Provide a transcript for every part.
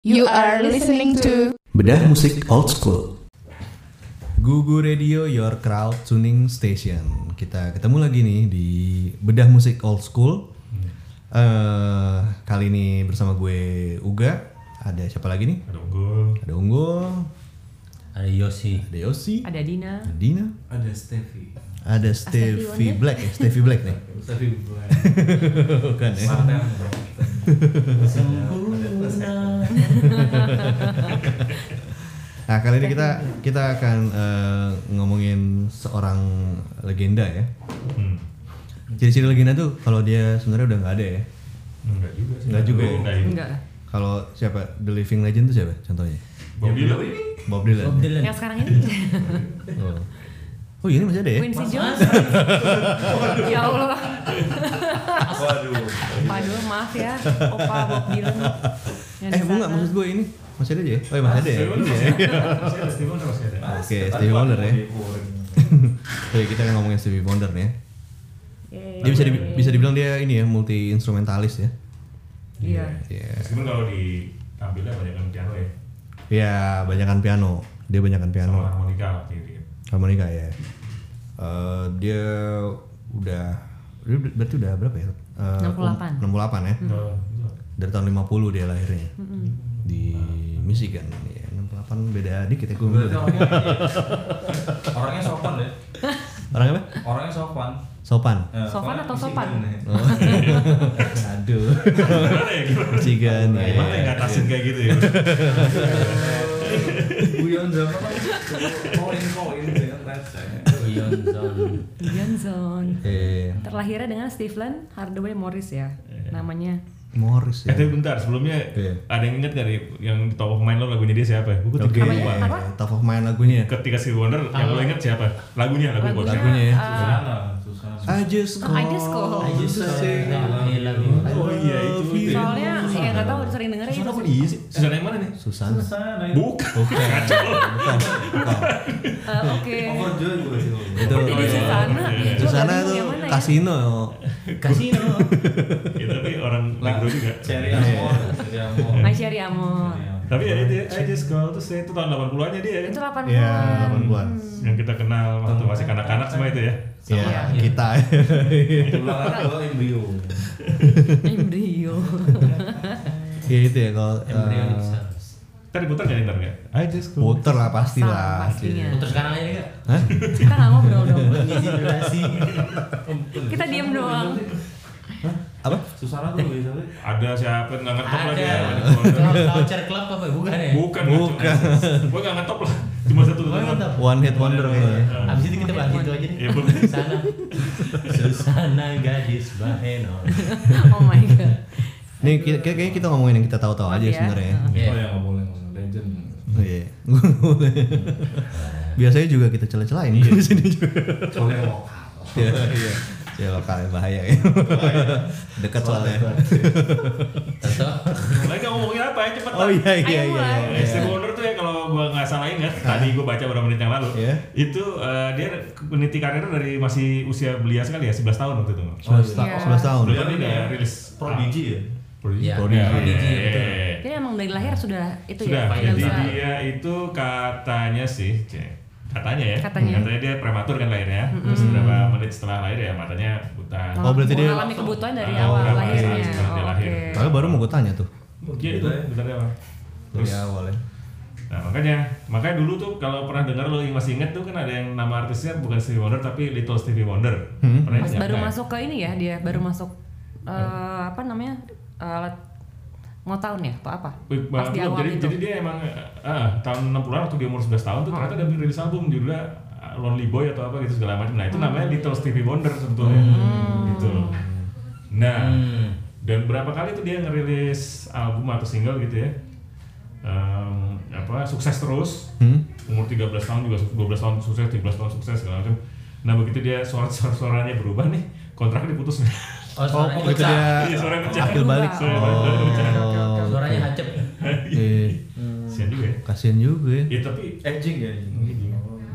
You are listening to Bedah musik old school. Gugu Radio Your Crowd Tuning Station. Kita ketemu lagi nih di bedah musik old school. eh kali ini bersama gue Uga. Ada siapa lagi nih? Ada Unggul. Ada Unggul. Ada Yosi. Ada Yosi. Ada Dina. Ada Dina. Ada Steffi. Ada ya. Stevie Black. Eh, Stevie Black nih. Steffi bukan. Bukan ya? Padang. Nah kali ini kita kita akan eh, ngomongin seorang legenda ya. Hmm, Ciri-ciri legenda tuh kalau dia sebenarnya udah nggak ada ya. Enggak juga sih. Enggak juga ya? Enggak Enggak lah. Kalau siapa The Living Legend tuh siapa contohnya? Bob Dylan. Bob Dylan. Bob Dylan. Yang sekarang ini Oh. oh iya ini masih ada ya? Quincy Jones. ya Allah. Waduh. Opa dulu maaf ya. Opa Bob Dylan. Yang Eh di bunga sana. maksud gue ini masih ada aja ya? Oh iya masih ada Ah, ya? Stevie Iya. Wonder masih ada, Stevie Wonder masih ada. Oke Stevie Wonder ya. Stevie Wonder. Oke kita akan ngomongin Stevie Wonder nih. ya. Yeay. Dia bisa di- bisa dibilang dia ini ya multi instrumentalis ya. Iya. Iya. Meskipun kalau di tampilnya banyak yang piano ya. Iya banyakan piano. Dia banyakan piano. Sama harmonika waktu itu ya. Hmm. Harmonika ya. Eh, dia udah dia ber- berarti udah berapa ya? Eh, 68. 68 ya. Hmm. Nah, itu. Dari tahun 50 dia lahirnya. Di Michigan ya. 68 beda dikit ya gue. Berarti orangnya, orangnya sopan deh. Orang apa? Orangnya sopan. Sopan. Eh, Sopan soalnya atau fisik sopan? kan, ya. Oh, iya. Aduh. Gimana ya? Iya. Gimana Michigan ya? Gimana yang ya. ngatasin kayak gitu ya? Guyon zaman kan koin koin dengan rasanya. Ion Zon. Ian Zon. Eh, Terlahirnya dengan Stephen Hardaway Morris ya. Namanya. Morris ya. Eh tapi bentar sebelumnya Iya. ada yang inget gak nih yang di top of mind lo lagunya dia siapa? Gue ketiga Oke. lupa. Apa? Top of mind lagunya. Ketika Stevie Wonder yang lo inget siapa? Iya, Lagunya, lagu bos. Lagunya. eh, Lagunya ya. Susana, Susana. I just call. I just call. I just Oh iya itu. itu. Soalnya ya nggak tahu sering dengerin Susana apa itu. dia sih? Susana yang mana nih? Susana. Susana. nah itu. Bukan. Bukan. Bukan. Bukan. Eh, Oke. Overjoy gue sih. Itu Jadi Iya, Susana. ya. Gua Susana nggak tahu tuh yang mana ya. kasino. Kasino. Ya, tapi orang negro juga. Iya. Cherry Amor, Cherry Amor. My Sherry Amor. Tapi ya itu ya, I just call to say itu tahun 80-an ya dia ya. Itu 8 Ya, bulan. 80-an. yang kita kenal waktu masih kanak-kanak semua itu ya. Ya, kita. Tulang atau embrio. Embryo. ya itu ya kalau uh, Ntar diputar nggak nih, ntar nggak? I just go. puter lah pasti lah. Pastinya. Untuk sekarang aja enggak? Hah? Kita nggak ngobrol dong. durasi. Kita diem doang. Apa? Susana tuh bisa sih. Ada siapa yang nggak ngetop lagi Ada. ya? Ada keluarga. Voucher club apa ya? bukan ya? Bukan. Bukan. Gue nggak ngetop lah. Cuma satu Bukan ya? doang. tetap. One hit wonder ya. Iya, kayaknya. Abis itu kita bahas itu aja deh. Ya, belum. Susana. Susana gadis Baheno. Oh my god. Nih kita, kayaknya kita ngomongin yang kita tahu-tahu Maaf aja ya. sebenarnya. ya. Iya. Iya. Oh ya nggak boleh nggak boleh. legend. Iya. Biasanya juga kita celah-celahin di sini juga. Soalnya lokal. Iya, iya. Ya lokalnya bahaya ya. Dekat soalnya. Toto. Lagi nggak ngomongin apa ya cepet. Oh iya iya Ayo iya. mulai. iya. Steve Wonder tuh ya kalau gue nggak salah ingat tadi gue baca beberapa menit yang lalu Iya. itu eh, dia meniti karirnya dari masih usia belia sekali ya 11 tahun waktu itu. Sebelas ta- Iya. sebelas tahun. Belum dia udah rilis Prodigy ya. ah, Prodigy. Ya, Prodigy. Prodigy, Iya, betul. iya, iya. Jadi emang dari lahir sudah itu Sudah, ya. jadi Sudah. dia itu katanya sih, cek. katanya ya, Katanya. dia prematur kan lahirnya, terus beberapa menit setelah lahir ya matanya buta. Mengal- Oh, berarti dia- mengalami kebutuhan dari Oh, awal berapa lahirnya. saat sebelum dia Oh, lahir. oke. Soalnya baru mau gue tanya tuh. Iya itu, bentar ya Bang. Dari Terus, awal ya. nah makanya, makanya dulu tuh kalau pernah dengar lo yang masih inget tuh kan ada yang nama artisnya bukan Stevie Wonder tapi Little Stevie Wonder. Pernah Mas ingat Nah, baru nggak? masuk ke ini ya dia baru masuk Iya. eh, apa namanya alat mau tahun ya atau apa? Wih, Pas di belum. awal jadi, itu. jadi dia emang ah, tahun 60-an waktu dia umur 11 tahun tuh ternyata dia rilis album judulnya ah, Lonely Boy atau apa gitu segala macam. Nah, itu Hmm. namanya Little Stevie Wonder sebetulnya. Gitu. Nah, Hmm. dan berapa kali tuh dia ngerilis album atau single gitu ya? Em, apa sukses terus. Umur 13 tahun juga su- 12 tahun sukses, 13 tahun sukses segala macam. Nah, begitu dia suara-suaranya berubah nih, kontrak diputus. Oh, Oh, suaranya itu pecah. dia Iya, suaranya pecah. akil balik. Berubah. Oh. Suaranya hacep. Eh, Sian juga ya. kasihan juga ya. Ya tapi Edging ya. edging. Gitu.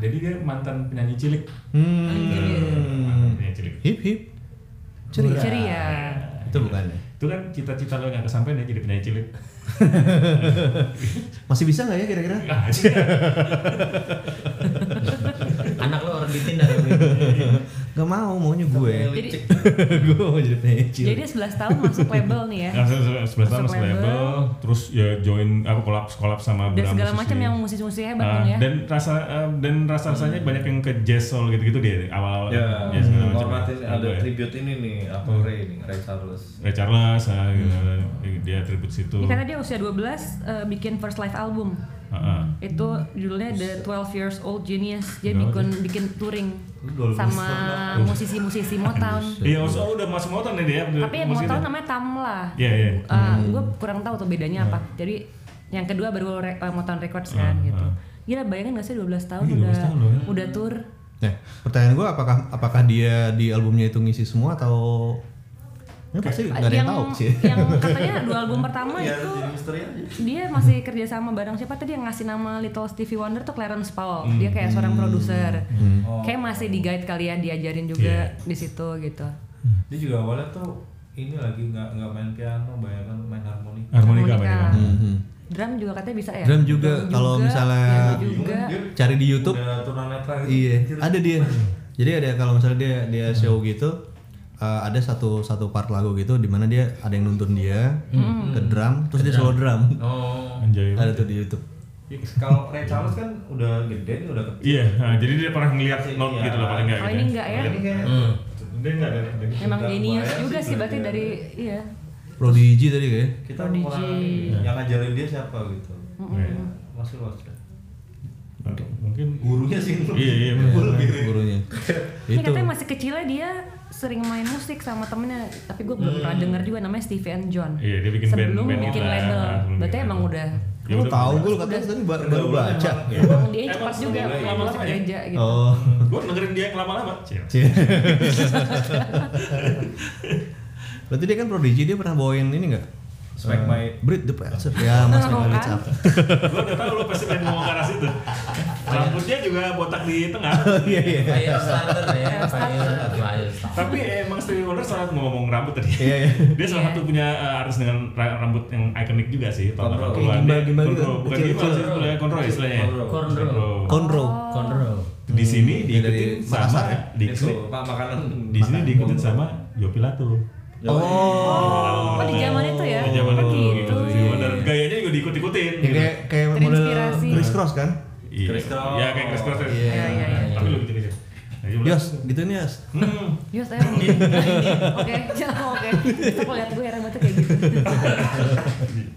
Jadi dia mantan penyanyi cilik. Mantan Hmm. penyanyi cilik. Hip hip. ceria. ceria. Itu bukan ya. Eh. Itu kan cita-cita lo yang gak kesampaian ya jadi penyanyi cilik. Masih bisa nggak ya kira-kira? Anak lo orbitin dari Win. Gak mau, maunya gue. Jadi, gue mau jadi penyanyi. jadi 11 tahun masuk label nih ya. Nah, se- sebelas tahun Masuk masuk label, label. terus ya join apa kolaps kolaps sama Dan beberapa segala macam musisi. yang musisi-musisi hebat Ah, dong ya. Hmm. dan rasa eh, dan rasa rasanya banyak yang ke jazz soul gitu gitu dia awal awal Ya, menghormati ada ya? tribute ini nih, Hmm. Apple Ray nih, Ray Charles. Ray Charles ah, gitu, Hmm. dia tribute situ Ini karena dia usia 12 eh, bikin first live album. Ah, ah. Itu judulnya The 12 Years Old Genius. Dia Gawat bikin bikin touring sama musisi-musisi Motown. iya oh, udah masuk motor nih dia Tapi yang musiknya. Motown namanya Tamla. Hmm, iya iya gue kurang tahu tuh bedanya apa. Jadi yang kedua baru re- eh, Motown Records kan Ah, gitu. ah. Gila bayangin gak sih 12 tahun Iya, 12 udah tahun loh ya. udah tour. Nah, pertanyaan gue apakah apakah dia di albumnya itu ngisi semua atau Ya, pasti nggak ada yang, tahu sih. yang katanya dua album pertama Iya, Ya, itu jadi misteri aja. dia masih kerja sama bareng siapa tadi yang ngasih nama Little Stevie Wonder tuh Clarence Powell. Hmm. Dia kayak seorang produser. Oh. Kayak masih di guide kali ya diajarin juga Iya. di situ gitu. Dia juga awalnya tuh ini lagi nggak nggak main piano, bayangkan main harmonika. harmonika ya? Harmonika. banyak Mhm. Drum juga katanya bisa ya. Drum juga, kalau misalnya- piano juga. Iya, Cari di YouTube, Udah tunanetra gitu. iya, ada dia. Jadi ada kalau misalnya dia dia show gitu, eh, ada satu satu part lagu gitu di mana dia ada yang nuntun dia Hmm. ke drum, terus dia solo drum. Oh. anjay Ada tuh di YouTube. Ya, Kalau Ray Charles kan udah gede nih, udah kecil. iya ah, jadi dia pernah ngeliat Iya. note gitu lah paling nggak Kalau gitu ini enggak ya. Ini kayak Hmm. dia nggak ada ada- Emang Udah genius lumayan juga sih sih berarti belajar. dari iya. Prodigy tadi kayak. kita Prodigy. kurang yang ngajarin dia siapa gitu. Iya. Masih lost. ya? mungkin Gurunya sih. iya iya bener. gitu. gurunya. Ini itu. katanya masih kecilnya dia sering main musik sama temennya, tapi gue belum pernah denger juga namanya Stevie and John. Iya, dia bikin Sebelum band- band bikin gitu. label, Ah, sebelum berarti bikin emang label. udah. Ya Lu udah, tahu bener. gue lu katanya tadi baru, baru baca. Emang dia Emang cepat juga, sebenarnya iya, labelnya maksudnya. gereja gitu. Oh. gue dengerin dia yang lama-lama Cil. Berarti dia kan Prodigy dia pernah bawain ini enggak? Smack my Breed the Prancer. Ya, Mas Oh, Malik kan? Cap. Gua udah tahu lo pasti pengen ngomong ke arah situ rambutnya juga botak di tengah Iya, iya. Fire starter ya. Fire fire starter. tapi emang Stevie Wonder salah satu ngomong rambut tadi Iya, iya. dia salah satu punya eh, artis dengan ra- rambut yang ikonik juga sih tahun Kontrol. 80-an Gimbal, gimbal Kontrol. gitu. bukan Kecil, gimbal kecil. sih sebenarnya kontrol ya istilahnya Cornrow. Kontrol. Conroe. Conrow. di sini Hmm, diikutin Dari sama Makassar ya? di itu pak makanan di sini Makan. diikutin sama Yopi Latul Oh, di zaman itu ya? di zaman itu Gitu. Stevie Wonder gayanya juga diikut-ikutin gitu. Ya, kayak kayak model Terinspirasi. Chris Cross kan? Iya. Chris Cross. Ya kayak Chris Cross. Iya, iya, iya, iya. Tapi lu gitu-gitu. Ayo, Blas. Yos, gitu nih Yos. Nah, iya, Hmm. Yus, Iya, saya mau Oke, jangan oke. Itu kalau lihat gue heran banget kayak gitu.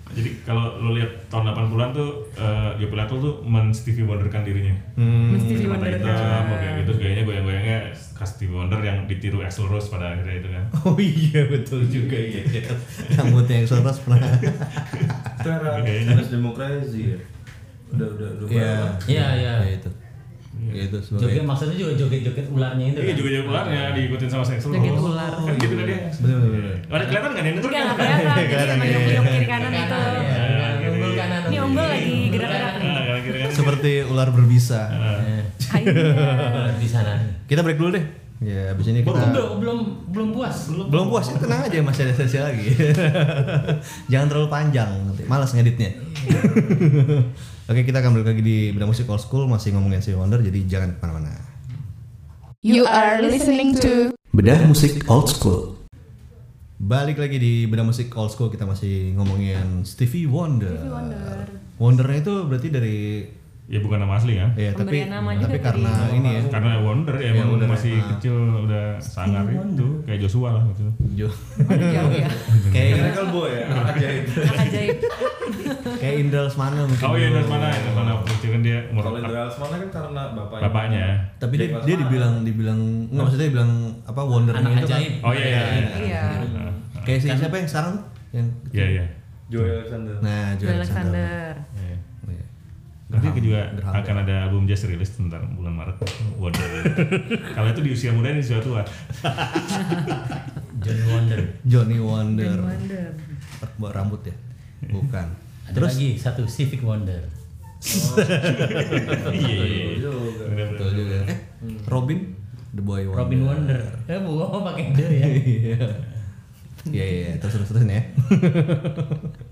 Jadi kalau lu lihat tahun 80-an tuh eh Yopi Latul tuh men Stevie Wonderkan dirinya. Hmm. Hmm. Mesti di Mata Wonder hitam, mau kayak gitu gayanya goyang-goyangnya khas Stevie Wonder yang ditiru Axl Rose pada akhirnya itu kan. Oh iya betul juga iya. Rambutnya yang soros pernah. Tera, Oke. Terus demokrasi ya. Udah udah udah. berapa? Iya, Iya, iya. Ya itu. Ya itu Joget sebagai maksudnya juga joget-joget ularnya itu. Iya kan? juga jadi ularnya diikutin sama Axl Rose. Joget ular. Kan gitu kan dia. Bener, bener, bener. Ada kelihatan kan enggak nih? Itu Enggak, enggak kelihatan. Jadi emang yuk kiri kanan Kanan, itu. ya. Kanan, Iya, unggul iya. kanan. Ini ombak lagi gerak-gerak. seperti ular berbisa. Hai. Di sana. Kita break dulu deh. Ya, abis ini Belum kita belum belum puas. Belum. belum puas ya tenang aja masih ada sesi lagi. Jangan terlalu panjang nanti malas ngeditnya. Oke, kita akan balik lagi di Bidang Musik Old School masih ngomongin si Wonder jadi jangan kemana mana You are listening to Bedah musik old school. Balik lagi di Benda Musik Old School kita masih ngomongin Stevie Wonder. Stevie Wonder. Wondernya itu berarti dari Ya bukan nama asli kan? ya tapi Pemberian nama juga tapi tadi. karena ini ya. Karena Wonder ya, emang masih Ah. kecil udah sangar Iya, itu kayak Joshua lah gitu. Jo- Waduh, jauh ya. kayak Miracle Boy ya, Iya. anak ajaib. Anak ajaib. kayak Indra Lesmana mungkin. Oh iya dulu. dari mana? Dari mana? Itu kan dia umur Kalau Indra Lesmana kan karena bapaknya. bapaknya. ya? Tapi dia, dia dibilang dibilang nggak maksudnya dibilang apa Wondernya Anak itu kan- ajaib. Oh iya iya. Iya. Kayak si siapa yang sekarang yang Nah, Kan? Iya iya. Joey Alexander. Nah, Joe Joe Alexander. Alexander. Iya. Iya. Nanti juga Graham akan ada album jazz rilis tentang bulan Maret. Wonder. Kalau itu di usia muda ini di usia tua. John Wonder. Johnny Wonder. Wonder. Buat rambut ya. Bukan. Ada lagi satu Civic Wonder. Iya iya. iya. Bener-bener. Betul juga. Eh, Hmm. Robin the boy Wonder. Robin Wonder. Eh bu, oh, pakai The ya. Iya iya iya. terus terus terus nih ya.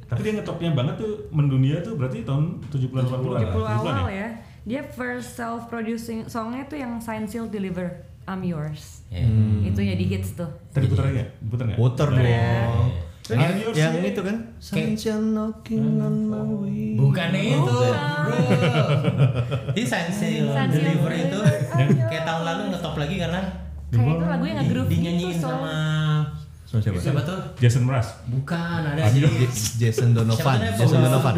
Tapi dia ngetopnya banget tuh mendunia tuh berarti tahun 70-an 80-an. 70 awal 70-an ya. Dia first self producing songnya tuh yang Sign Seal Deliver I'm Yours. Iya. Itu jadi hits tuh. Tadi putar enggak? Putar enggak? Water dong. Yang- Yang, yours yang ya. itu kan. Iya. Kayak- Hmm. Sunshine knocking on my way. Oh. Bukan itu, bro. Di Sansil Sunshine Deliver Deliver. itu kayak tahun lalu ngetop lagi karena Kayak itu lagu yang di- nge-groove gitu dinyanyiin sama soalnya. Sama siapa? siapa tuh? Jason Mraz. Bukan, ada Ah, jadi J- Jason Siapa Donovan. tuh yang Jason pembawa- Donovan.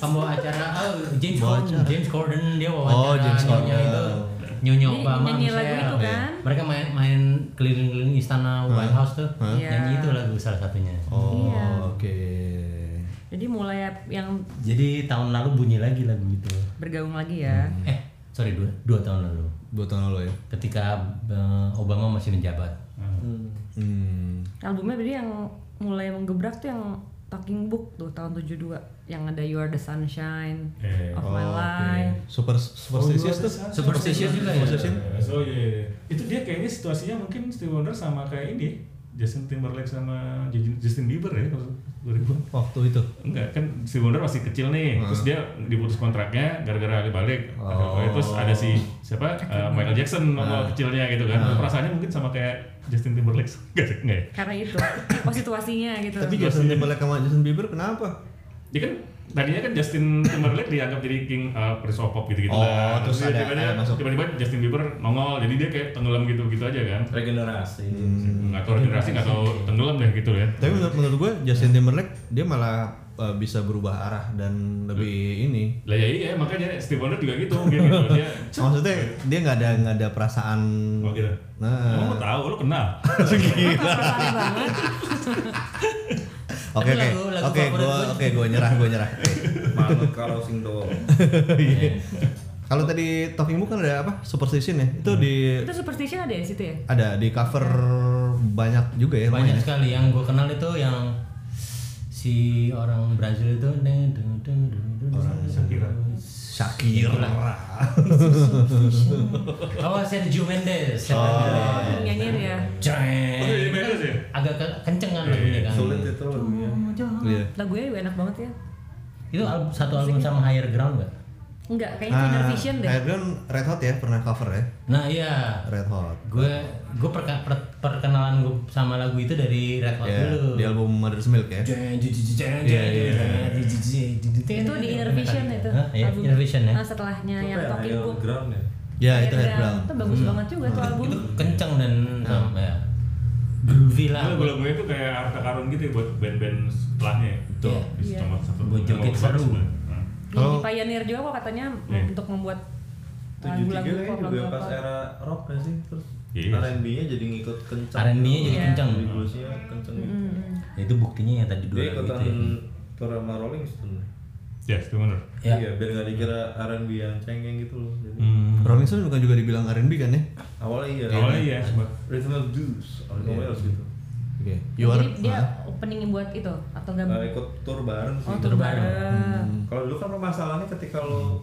Pembawa acara oh, James Corden, James Corden dia wawancara Oh, James nyonya Corden. itu. Nyonya Jadi Obama nyanyi lagu Michelle. itu kan? Mereka main main keliling-keliling istana White House tuh. Iya. Nyanyi itu lagu salah satunya. Oh, Iya. oke. Jadi mulai yang Jadi tahun lalu bunyi lagi lagu itu. bergaung lagi ya. Eh, sorry dua, dua tahun lalu. Dua tahun lalu ya. Ketika eh, Obama masih menjabat. Hmm. Albumnya berarti yang mulai menggebrak tuh yang Talking Book tuh tahun 72 yang ada You Are the Sunshine Eh, of Oh, My Life. Super Oh, iya, superstitious tuh. Superstitious juga ya? Oh iya, iya. Itu dia kayaknya situasinya mungkin Stevie Wonder sama kayak ini Justin Timberlake sama Justin Justin Bieber ya kalau 2000 Waktu itu. Enggak, kan si Wonder masih kecil nih. Terus dia diputus kontraknya gara-gara balik. Eh, Terus ada si siapa? Eh, Michael Jackson sama kecilnya gitu kan. Perasaannya mungkin sama kayak Justin Timberlake. Enggak, sih, enggak ya? Karena itu, oh situasinya gitu. Iya, Tapi Justin Timberlake sama Justin Bieber kenapa? Dia kan tadinya kan Justin Timberlake dianggap jadi king eh, Prince of Pop gitu-gitu Oh, lah. terus dia ada- tiba-tiba, ada masuk. tiba-tiba Justin Bieber nongol. Jadi dia kayak tenggelam gitu-gitu aja kan. regenerasi Hmm. Hmm. Enggak tahu regenerasi, enggak tahu tenggelam deh gitu ya. Tapi menurut, menurut gue Justin Timberlake dia malah uh, bisa berubah arah dan lebih ini. Lah ya iya, makanya Stevie Wonder juga gitu mungkin gitu. Dia Maksudnya dia nggak ada nggak ada perasaan. Oh gitu. Nah, Emang lu tahu, lu kenal. Perasaan banget. oke oke lagu- lagu oke favorit gue gue. oke gue nyerah gue nyerah. Oke. malu kalau sing Iya, doang Kalau tadi Talking Book kan ada apa? Superstition ya? Itu di Itu superstition ada ya di situ ya? ada di cover banyak juga ya. lumayan. Banyak sekali yang gue kenal itu yang si orang Brazil itu deng deng deng deng deng orang Shakira. Shakira. Oh Sergio Mendes. Sergio Oh, Mendes. nyanyiin ya. Jreng. Oh, iya, Mendes ya? Agak ke- kenceng kan lagunya kan. sulit itu lagunya Iya. Lagunya juga enak banget ya. Itu album, satu album sama Higher Ground gak? Enggak, kayaknya Ah, Inner Vision deh. Iron Nah, Red Hot ya pernah cover ya? Nah iya. Red Hot. Gue gue perka- per- perkenalan gue sama lagu itu dari Red Hot Ya, dulu. di album Mother's Milk ya. Iya, Itu di Inner Vision itu. Hah? Iya, album. Inner Vision ya. Iya, Nah, setelahnya yang Talking Book. ground ya Ya itu Head Airground. Brown. Itu bagus Hmm. banget juga tuh album. Itu kenceng dan um, ya, groovy lah. buat- Nah, lagu-lagunya itu kayak harta karun gitu ya buat band-band setelahnya itu Iya. bisa Iya. cuma satu Buat yang joget bagus seru. banget. Nah. Yang di pioneer juga kok katanya Iya. untuk membuat tujuh lagu-lagu tiga pop juga lagu pas apa. era rock kan sih terus Iya. R&B-nya jadi ngikut kencang R&B-nya jadi Iya. kencang. Jadi bluesnya kencang gitu. Ya, itu buktinya yang tadi dia dua gitu ya. lagu ikutan itu. Hmm. tour sama Rolling Stone ya itu bener Ya. Hmm. iya biar nggak dikira R&B yang cengeng gitu loh jadi Rolling Stone bukan juga dibilang R&B kan ya? awalnya iya awalnya ya sempat Rhythm and Blues or Iya. somewhere else gitu Oke. You are Jadi dia opening buat itu atau nah, gabung? ikut tour bareng sih Oh, tur bareng. Hmm. kalau dulu kan masalahnya ketika lo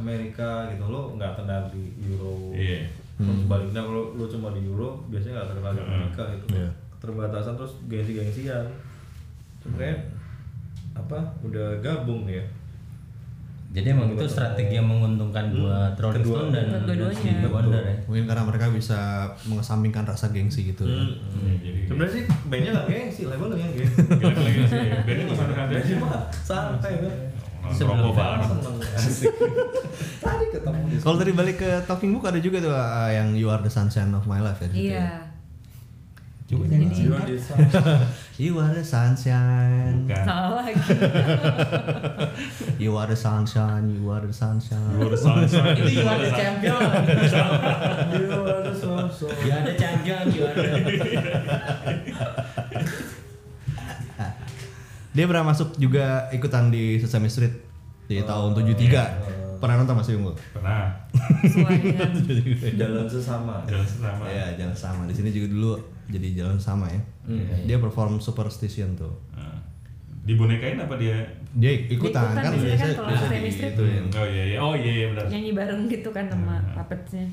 Amerika gitu lo nggak tenar di Euro Iya. Terus Hmm. sebaliknya kalau lo cuma di Euro biasanya nggak terkenal Hmm. di Amerika gitu Iya. keterbatasan terus gengsi-gengsian terus kayak apa udah gabung ya Jadi emang itu strategi yang menguntungkan buat Rolling Kedua- Stone dan Buat dan dua-duanya. Stevie Wonder ya. Mungkin karena mereka bisa mengesampingkan rasa gengsi gitu. Hmm. Hmm. Iya, jadi sebenarnya sih bandnya nggak gengsi label lo yang gengsi gila lagi sih bandnya nggak santai santai aja Cuma santai kan Sebelum rokok bareng seneng asik tadi ketemu di Kalau tadi balik ke Talking Book ada juga tuh uh, yang You Are the Sunshine of My Life ya. gitu Iya. ya. You are the sunshine. bukan Salah lagi. You are the sunshine. You are the sunshine. Luar santai Itu You Are The Champion. ada sosok You Are The Champion, You Are The- Dia pernah masuk juga ikutan di Sesame Street di tahun 73. Pernah nonton masih unggul? pernah Suaranya. jalan sesama jalan sama Iya, jalan sama. Di sini juga dulu jadi jalan sama ya. Hmm. Dia perform Superstition tuh. Nah. dibonekain apa dia Dia ikutan, Ikutan, kan biasanya biasa kan kalau biasa Sesame di- Street. itu ya. oh iya iya oh iya iya benar Hmm. Nyanyi bareng gitu kan sama puppetsnya.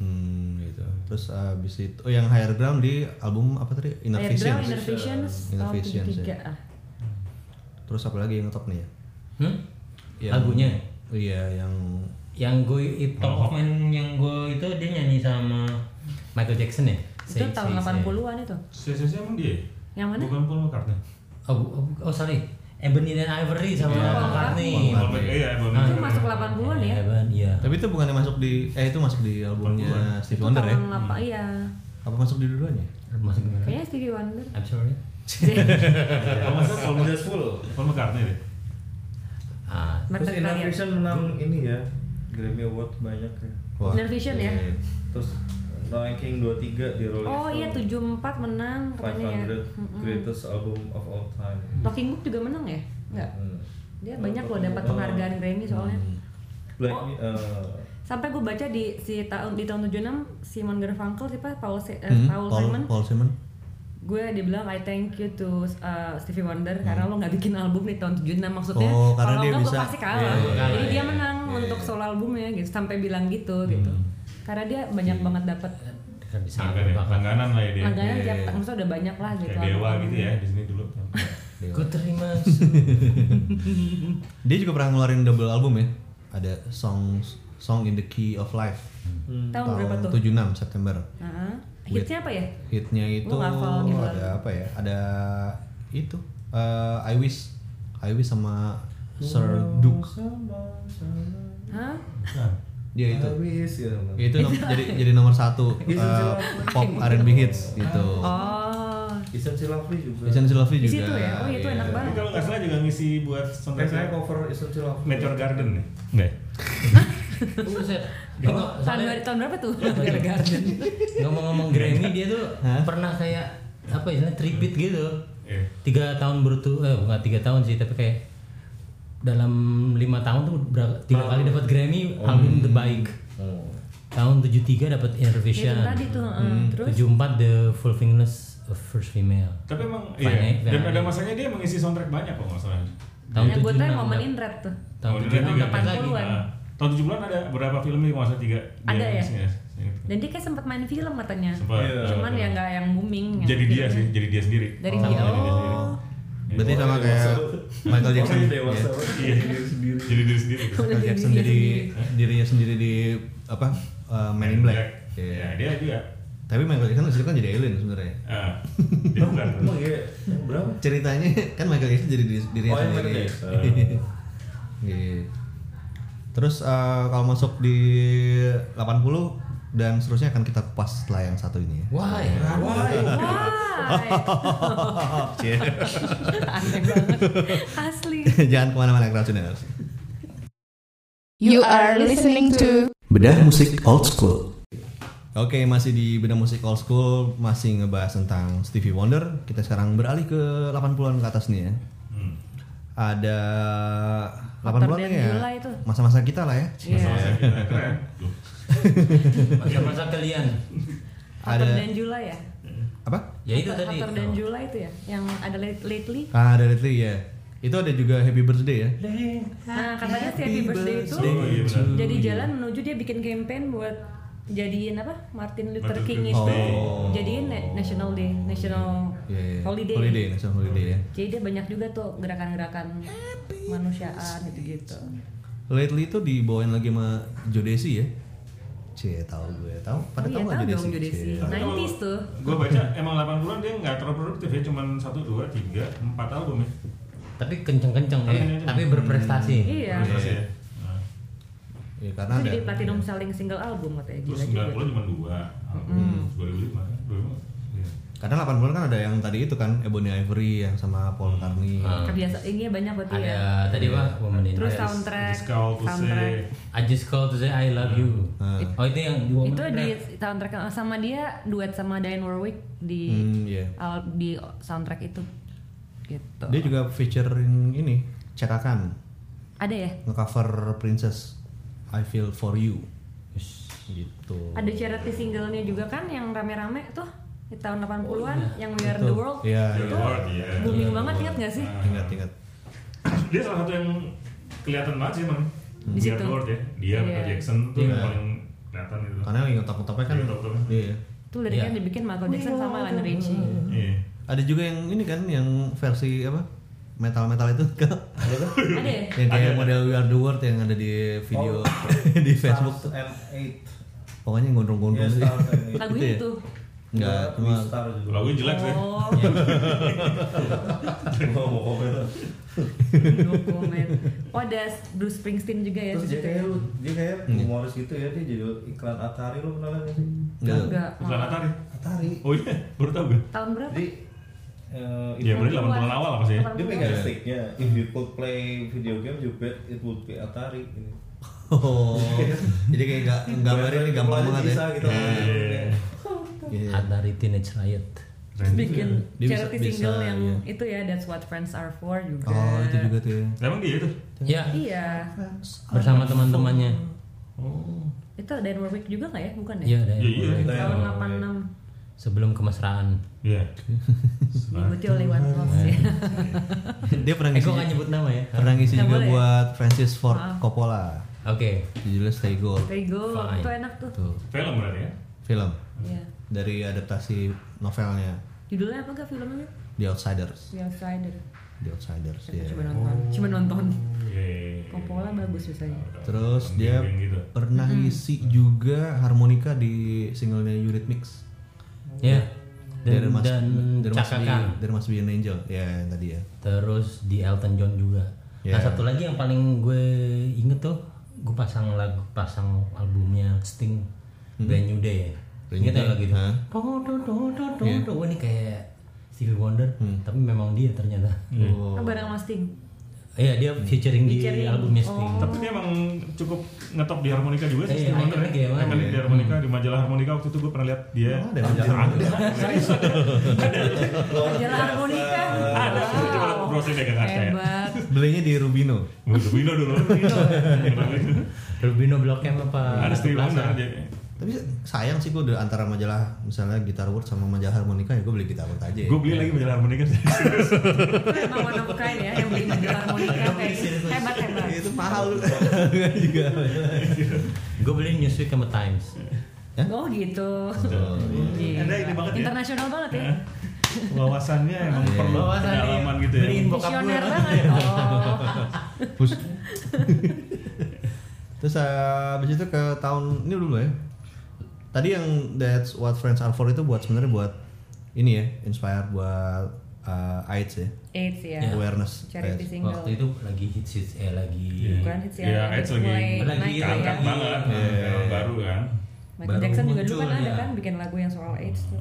Hmm, gitu. Terus terus abis itu oh, yang higher ground di album apa tadi Inner Air Visions. Drown, Inner Visions, Inner tahun Visions, 73 ya. ah. terus apa lagi yang top nih ya Hmm? Yang- Lagunya? iya yang Yang gue itu Top of Mind yang gue itu dia nyanyi sama Michael Jackson ya? Itu Say- tahun Say- Say. 80-an itu. CCC emang dia? ya? Yang mana? Bukan Paul McCartney. Oh, bu- oh, bu- oh, sorry. Ebony dan Ivory sama Paul McCartney. Paul McCartney. Iya, Paul Ah, Itu McCartney. masuk 80-an ya. Eben, iya. tapi itu bukannya masuk di eh itu masuk di albumnya Stevie Wonder ya Tahun apa iya. apa masuk di duluan ya Masuk gimana? Kayaknya Stevie Wonder. I'm sorry. Kalau nggak salah Paul Udah McCartney. full. Paul McCartney deh. Ah, Mata Terus Inner kalian. Vision menang ini ya Grammy Award banyak ya. Wah. Inner Vision ya? Iya. Terus ranking 23 di Rolling Oh Stone. iya 74 menang katanya ya. 500 Mm-mm. greatest album of all time. Talking Book juga menang ya? Enggak. Hmm. Dia Oh, banyak loh Talking dapat Book. penghargaan Grammy soalnya. Hmm. Black Oh. eh, Sampai gue baca di si tahun di tahun 76 Simon Garfunkel siapa Paul Se- eh, Hmm, Paul Simon Paul Simon gue dibilang I thank you to uh, Stevie Wonder karena lo nggak bikin album di tahun 76 maksudnya Hmm. Oh, karena kalau dia enggak gue bisa- pasti kalah Iya, iya, iya, jadi iya, dia menang iya. untuk solo albumnya gitu sampai bilang gitu gitu Hmm. karena dia banyak Iya. banget dapat kan bisa Sangkan ya, bakal. langganan lah ya dia. langganan tiap maksudnya udah banyak lah gitu Kayak dewa gitu ya di sini dulu. Ku terima. dia juga pernah ngeluarin double album ya ada songs song in the key of life tahun berapa tuh 76 September Heeh. Iya. hitsnya apa ya hitnya itu Lu ngafal gitu ada apa ya ada itu eh, I wish I wish sama Sir Oh, Duke Hah? dia Iya, itu Iya. Habis gitu. itu nom- jadi jadi nomor satu Isn't eh, She pop R&B hits gitu oh Isn't She Lovely juga. Jason Silvi di juga situ ya oh itu iya. enak Tapi banget kalau nggak salah juga ngisi buat Eh, saya soundtrack cover Isn't She Lovely. Nature Garden ya? Nggak ya? Buset. tahun, Soalnya- tahun berapa tuh Beer Garden ngomong-ngomong Grammy dia tuh pernah kayak apa istilahnya tribute gitu Iya. tiga tahun bertu eh bukan tiga tahun sih tapi kayak dalam lima tahun tuh ber- tiga kali dapat Grammy album The Bike Oh. tahun 73 dapat Inner itu Vision tadi tuh heeh. Hmm, terus 74 The Fulfillness of First Female Tapi emang iya. Fine, eh, Dan fine. ada masanya dia mengisi soundtrack banyak kok nggak salah. tahun ya gue tuh 76 momen dap- inret tuh tahun Oh, ini 76 tiga dapat kan? lagi 80-an. Nah, Tahun 70-an ada berapa film nih kalau nggak salah tiga? dia Ada ya? ngisinya, saya ingat. dan dia kayak sempat main film katanya Sempat. Iya. cuman ya nggak yang booming yang eh, Jadi dia gitu. sih, jadi dia sendiri. dari Sama dia jadi sendiri. oh berarti Iya, sama kayak Michael Jackson Orangnya ya. dewasa banget. Iya. sendiri. Jadi diri sendiri. Michael Jackson jadi eh, dirinya sendiri di apa uh, Man in Black Iya. Ya, dia juga. tapi Michael Jackson disitu kan jadi alien sebenarnya Ah, dia bukan. Oh, Emang iya, yang berapa? ceritanya kan Michael Jackson jadi diri, dirinya Oh, yang sendiri Michael Iya. terus eh, kalau masuk di 80 dan seterusnya akan kita kupas setelah yang satu ini ya. wah ya iya. wah aneh banget asli jangan kemana-mana ya, keracunan You are listening to Bedah musik old school. Oke, masih di Beda Musik Old School, masih ngebahas tentang Stevie Wonder. Kita sekarang beralih ke 80-an ke atas nih ya. Hmm. Ada Hotter 80-an than ya. July itu. Masa-masa kita lah ya. Iya. Masa kita keren. Loh, masa-masa kalian Hotter Ada- dan July ya Apa? ya itu tadi Hotter dan July itu ya yang ada late- lately Ah, ada itu ya. Itu ada juga Happy Birthday ya. nah katanya si Happy Birthday itu Oh iya benar. jadi jalan menuju dia bikin campaign buat jadiin apa Martin Luther Martin King Luther itu King. Oh. jadiin na- National Day National Iya, iya. Holiday. Holiday, National Holiday ya. jadi dia banyak juga tuh gerakan-gerakan manusiaan gitu-gitu Lately itu dibawain lagi sama Jodesi ya. Cie, tahu gue tahu. Oh Pada iya, tahu nggak Iya. tahu dong Joe Desi? Jodeci. Cie. 90s tuh Gue baca emang 80-an dia nggak terlalu produktif ya, cuman 1, 2, 3, 4 album ya. tapi kenceng-kenceng ya Kenceng-kenceng. tapi berprestasi iya Terus ya. Nah, Ya, karena itu ada. jadi platinum selling single album katanya Terus gila juga 90 cuma 2 album. 2005 kan? 2005. Iya. Karena 80-an kan ada yang tadi itu kan Ebony Ivory yang sama Paul McCartney. kebiasaan ini banyak berarti ada ya tadi apa Iya. woman in terus Paris. soundtrack Just call to soundtrack say I just call to say I love you. Ah. Oh itu yang di itu di soundtrack sama dia duet sama Diane Warwick di Hmm, iya. al- di soundtrack itu gitu Dia juga featuring ini, cetakan ada ya ngecover Princess I Feel For You. Gitu. ada charity singlenya juga kan yang rame-rame tuh di tahun 80-an yang We Are Itu. the World Oh, Iya, The iya. World, iya. booming banget ingat gak sih Ingat ingat. Dia salah satu yang kelihatan banget sih emang. Di Weird situ. World ya. Dia, Michael Iya. Jackson tuh yang paling kelihatan gitu. Karena yang otak-otaknya kan Otak-otaknya. Iya. Hmm. Itu liriknya Iya. dibikin Michael Jackson sama Lionel Richie. Iya. Ada juga yang ini kan yang versi apa? Metal-metal itu kan. Ada ya? yang kayak model We Are The World yang ada di video Oh. di Facebook tuh. M8. Pokoknya gondrong-gondrong gitu. Iya, Stars and Eight. Lagunya Gitu ya? itu. Enggak, Iya, cuma Wee Star juga. Lagunya jelek sih. Oh, Gua mau komen. dokumen. Oh, ada Bruce Springsteen juga ya. Terus dia situ ya? kayak lu, dia kayak Iya. humoris gitu ya, dia jadi iklan Atari lu kenal nggak sih? enggak. Enggak. Iya. Bukan malah. Atari. Atari. Oh iya, baru tau gue. Tahun berapa? Jadi eh, Iya, itu- berarti 80-an awal lah pasti ya. dia pegang Iya. sticknya. If you could play video game, you bet it would be Atari. gitu. Ini. Oh. Jadi kayak enggak gambarnya ini gampang Pokoknya banget bisa ya. Gitu. Iya. Iya. Atari Teenage Riot. Keren juga. bikin Dia bisa- charity bisa, single yang iya. itu ya That's What Friends Are For juga. Oh, itu juga tuh ya. Emang dia itu? Ya, Iya. bersama teman-temannya. Oh. Itu Dan Warwick juga nggak ya? Bukan ya? Iya, ada Iya, iya. yang- Tahun 86 Sebelum kemesraan. Iya. diikuti oleh One Love ya. Dia pernah Eh, ngisi gue nggak nyebut nama ya. pernah ngisi Nggak juga boleh ya? Ah. buat Francis Ford Maaf. Coppola. Oke. Judulnya Stay Gold Tego, Fine. itu enak tuh. tuh Film berarti ya? film Iya. dari adaptasi novelnya Judulnya apa gak filmnya? The Outsiders. The Outsider. The Outsiders Saya ya. Cuma nonton. Cuma nonton. Iya. Coppola bagus biasanya. Terus dia Geng-geng gitu. pernah Hmm. ngisi juga harmonika di singlenya Eurythmics. Ya. There Dan, must- dan there must be, cakakan. there must be an angel ya yang tadi ya. Terus di Elton John juga. Yeah. Nah satu lagi yang paling gue inget tuh, gue pasang lagu, pasang albumnya Sting, Brand New Day. Brand Ingat New ya Day, lagu itu? ha? Do do do do do do. Wah, Ini kayak Stevie Wonder, tapi memang dia ternyata. Oh. Barang Mas Ting. Iya dia featuring di Featuring. albumnya Sting. Tapi dia emang cukup ngetop di harmonika juga sih. Iya, Steve Wonder ikonik ya, ya. Bang. Ikonik di harmonika, di majalah harmonika waktu itu gue pernah lihat dia. Oh, ada majalah Majalah harmonika. Ada, itu cuma browsing deh kakak saya. Hebat. Belinya di Rubino. Gue Rubino dulu. Rubino Blok M apa? Ada Steve Wonder. Plaza? dia. Tapi sayang sih gue udah antara majalah misalnya Guitar World sama majalah harmonika ya gue beli Guitar World aja. ya. Gue beli lagi majalah harmonika. Itu emang one of kind ya yang beli majalah harmonika kayak gitu. Hebat hebat. itu mahal juga. Gue beli Newsweek sama Times. Oh gitu. Gila. Anda ini banget ya. Internasional banget ya. Wawasannya emang perlu Wawasan dia pendalaman gitu ya. beliin bokap gue. Visioner banget. Oh. Bus. Terus eh, abis itu ke tahun ini dulu ya. Tadi yang That's What Friends Are For itu buat sebenarnya buat ini ya, inspire buat eh, AIDS ya, AIDS ya. awareness. Charity AIDS. single. Iya. Waktu itu lagi hits hits eh lagi. Bukan hits ya. Iya, AIDS lagi mulai naik ya. Keangkat banget. Emang Baru iya. kan. Michael Baru Jackson juga dulu muncul, kan ada ya. kan bikin lagu yang soal AIDS tuh.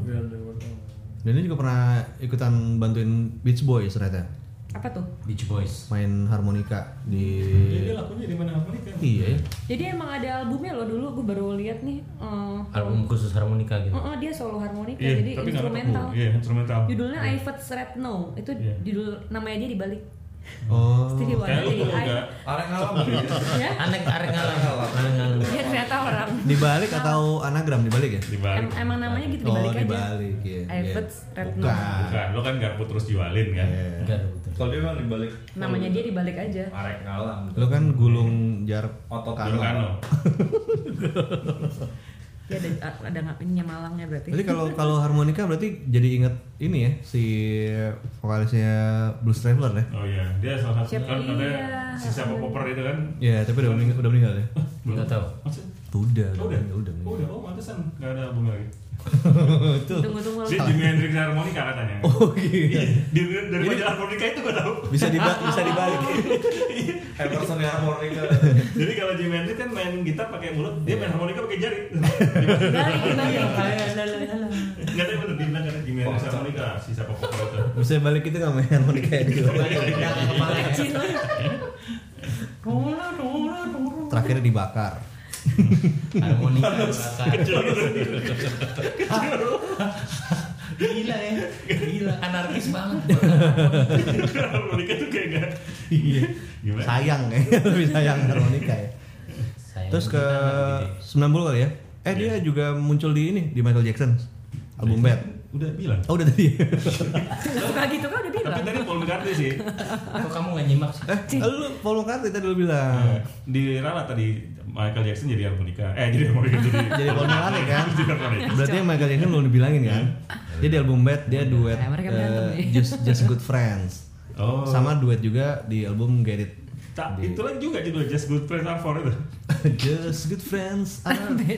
Dan dia juga pernah ikutan bantuin Beach Boys ternyata Apa tuh? Beach Boys. main harmonika di Dia lakunya di mana harmonika? iya ya. Jadi emang ada albumnya loh dulu gue baru lihat nih. eh, Album khusus harmonika gitu. eh, eh, dia solo harmonika Iya, jadi tapi nggak instrumental. ketemu. Iya, instrumental. Judulnya I Felt Red No itu Iya. judul namanya dia dibalik. Oh. Stevie Wonder Kayak lu jadi I. enggak Arek alam ya. Ya. Anek arek ngalam. Arek ngalam. Dia Iya, ternyata orang. Dibalik atau anagram dibalik ya? dibalik. Em- emang namanya gitu Oh, dibalik aja. dibalik ya. I iya. Felt Red No. Bukan. Bukan, lo kan garpu terus jualin kan. Iya. Enggak ada betul. Kalau dia emang dibalik Namanya dia dibalik aja. Arek ngalam. Lu kan gulung jarak Otot Dulu kan lo. Dia ada ada ngapainnya Malangnya berarti. Jadi kalau kalau harmonika berarti jadi inget ini ya si vokalisnya Blues Traveler ya. Oh iya, dia salah satu Siapa- kan katanya iya. si siapa popper itu kan. Ya, tapi udah meninggal, udah meninggal ya. Enggak tahu. Maksud- Udah, Oh, udah, udah. udah, oh, meninggal. udah, oh, pantesan nggak ada album lagi. Tunggu tunggu. Si Jimi Hendrix harmonika katanya. Oh, gitu. Dia dari- dari majalah harmonika itu gue tahu. Bisa diba bisa dibalik. Emerson ya harmonika. Jadi kalau Jimi Hendrix kan main gitar pakai mulut, Iya. dia main harmonika pakai jari. Balik dibalik. Enggak tahu bener dia bilang karena Jimi Hendrix harmonika si siapa popper itu. Bisa balik itu nggak main harmonika ya gitu. Kecil. Terakhir dibakar. Harmonika bakar. Gila ya. Gila anarkis banget. harmonika tuh kayak enggak. Iya. Gimana? Sayang ya, lebih sayang harmonika ya. Sayang Terus ke gitu kita nggak ya? Iya. 90 begitu. kali ya. Eh dia juga muncul di ini di Michael Jackson album Bad. Udah bilang. Oh udah tadi. Nggak suka gitu kan udah Tapi bilang. tadi Paul McCartney sih. Iya. Kok kamu nggak nyimak sih? eh, lu Paul McCartney tadi lu bilang. Diralat Eh, tadi Michael Jackson jadi harmonika. Eh jadi harmonika jadi. Jadi Paul McCartney kan. Jadi Iya. harmonika. Berarti yang Michael Jackson belum dibilangin kan? Dia di album Bad dia duet Nah, mereka eh, berantem nih. Just Just Good Friends. Oh. Sama duet juga di album Get It. Nah, Tak, Di- itu lagi juga judul Just Good Friends Are For itu. Just Good Friends. Ah. are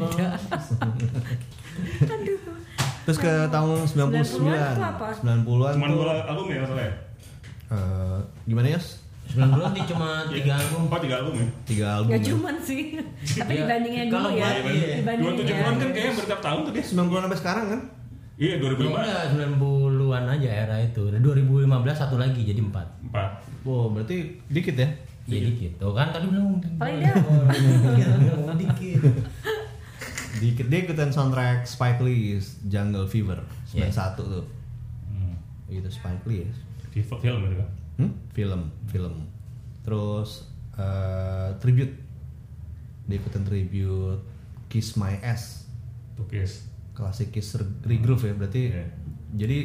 Terus ke tahun 99. 90-an tuh apa? 90-an. Cuman tuh, dua album ya masalahnya. eh, gimana ya? 90 dia cuma tiga album. Oh tiga album ya. Tiga album. Gak ya. cuman sih. Tapi Iya. dibandingnya dulu Kalau ya. gua- iya. Dua Dibandingin tujuh ya. an kan kayaknya bertiap tahun tuh dia. 90-an sampai sekarang kan? Iya dua ribu lima. Ya Udah 90-an aja era itu. 2015 satu lagi jadi empat. Empat. Wow, berarti dikit ya. Iya. Jadi gitu kan tadi bilang Paling dia- Dikit, dikit. Dikit dia ikutan soundtrack Spike Lee Jungle Fever 91 Yeah. tuh. Hmm. Gitu Spike Lee. ya. Di film itu kan. Hmm? Film, film. Terus eh, tribute. Dia ikutan tribute Kiss My Ass. Tukis. Klasik Kiss re- regroove ya berarti. Yeah. Jadi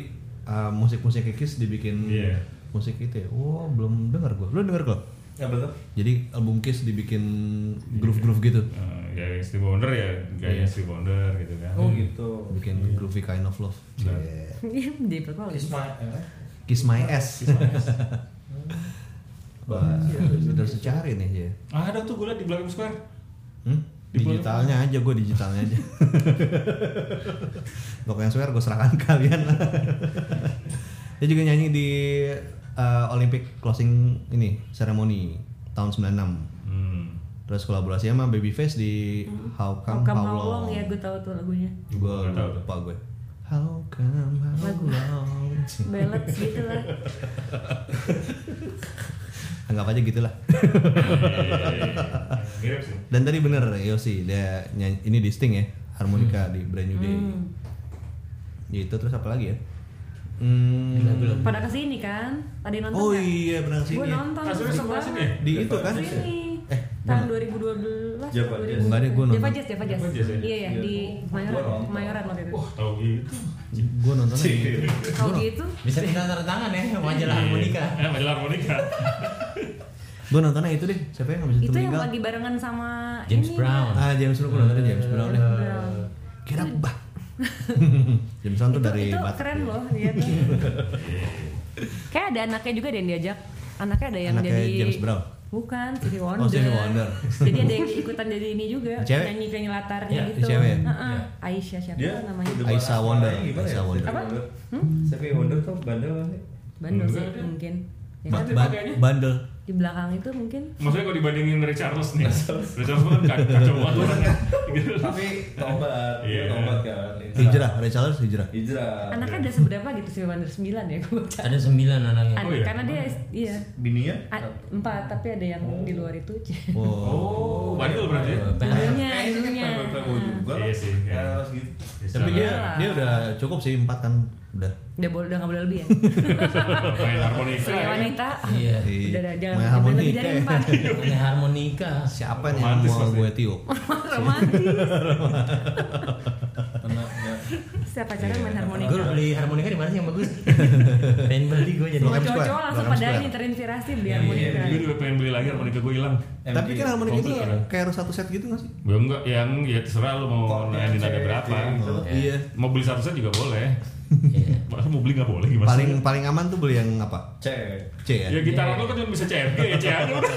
eh, musik-musik Kiss dibikin Yeah. musik itu ya. Wow, belum dengar gua. Belum dengar gua. Ya betul. Jadi album Kiss dibikin groove-groove gitu. Eh, ya Stevie Wonder ya gaya Stevie Wonder gitu kan. Oh gitu. Bikin groovy kind of love. Nah. Yeah. Iya, di perkuali. Ismail. eh? Kiss My Ass. Iya. Wah, udah harus dicari nih ya. Ah, ada tuh gue liat di Blackham Square. Hmm? Di Digitalnya aja gue digitalnya aja. Pokoknya swear gue serahkan kalian. Dia juga nyanyi di eh, Olympic closing ini ceremony tahun 96. Hmm. Terus kolaborasi sama Babyface di Hmm. How Come How, Long. ya gue tahu tuh lagunya. Gue Nggak tahu. lupa gue. How Come How Lagu. Long. Belet gitu lah. Anggap aja gitulah. Iya, Mirip sih. Dan tadi bener Yosi dia nyanyi ini di Sting ya harmonika di Brand New Day. Gitu terus apa lagi ya? Hmm, Pada kesini kan? Ada yang nonton Oh nggak? iya pernah Gue kesini. ya. nonton. Ah, serius sama sini? Di itu kan? Kesini. Eh, Tahun 2012. Java Jazz. 2000. Enggak deh, gua Java nonton. Jazz, Java Jazz. Java Jazz ya? Iya ya, Iya. di Kemayoran, Gua nonton. Kemayoran waktu itu. Wah, tahu gitu. Gue nonton gitu. Kalau gitu, Bisa minta tanda tangan ya majalah harmonika. Eh, majalah harmonika. Gue nontonnya itu deh. Siapa yang habis itu itu yang meninggal? lagi barengan sama James ini. Brown. Ah James Brown. Gue nontonnya James Brown deh. Brown. Kira bah. James Brown tuh Itu, dari itu Batak keren ya. loh dia tuh. Kayak ada anaknya juga deh yang diajak. Anaknya ada yang Anaknya jadi James Brown. Bukan, Stevie Wonder. Oh, Stevie Wonder. jadi ada yang ikutan jadi ini juga, Cewek? nyanyi penyanyi latarnya Ya, gitu. cewek ya? Heeh. Ya. Aisyah siapa Dia namanya? Hmm? udah Aisyah bahas Wonder. suaranya gimana ya? Aisyah Wonder. Apa? Stevie Wonder tuh bandel nggak sih? Bandel sih Enggak, dia. mungkin. Ya Ba- kan? ba- bandel. Di belakang itu mungkin Maksudnya kalau dibandingin Ray Charles nih. Ray Charles kan ka- kacau banget orangnya. Gitu. Tapi tobat, Iya. dia tobat kan. Hijrah, Ray Charles hijrah. Hijrah. anaknya ada seberapa gitu Stevie Wonder 9 ya gue baca. Ada sembilan anaknya. An- Oh, iya? Karena dia iya. Bininya? A- empat tapi ada yang di luar itu. Wow. Oh, bandel berarti. ya? Ibunya, Kayaknya kan ibunya. playboy-playboy juga. Iya sih, Ya, iya. harus gitu. Tapi dia dia udah cukup sih empat kan udah. Udah boleh udah nggak boleh lebih ya. main harmonika. Sebagai ya. wanita. Iya. Di- Udah, udah, jangan main jangan harmonika lebih dari ya. empat. Punya harmonika. Siapa nih yang Romantis mau pasti. gue tiup? Romantis. Anaknya. Setiap pacaran main harmonika. Gue beli harmonika di mana sih yang bagus? Pengen beli gue jadi. Belakang Blok- Cowok-cowok square, langsung belakang pada square. ini terinspirasi beli Iya, harmonika. Gue juga pengen beli lagi harmonika gue hilang. Tapi MD. kan harmonika itu Komplit kan? kayak harus satu set gitu gak sih? Gue enggak yang ya terserah lo mau Koknya, nanyain ada cewek, berapa. cewek gitu. Oh, Iya. Mau beli satu set juga boleh. Iya. Masa mau beli nggak boleh gimana? sih? Paling paling aman tuh beli yang apa? C. C ya. Ya gitar Iya. lo kan cuma bisa CRG ya CRG udah.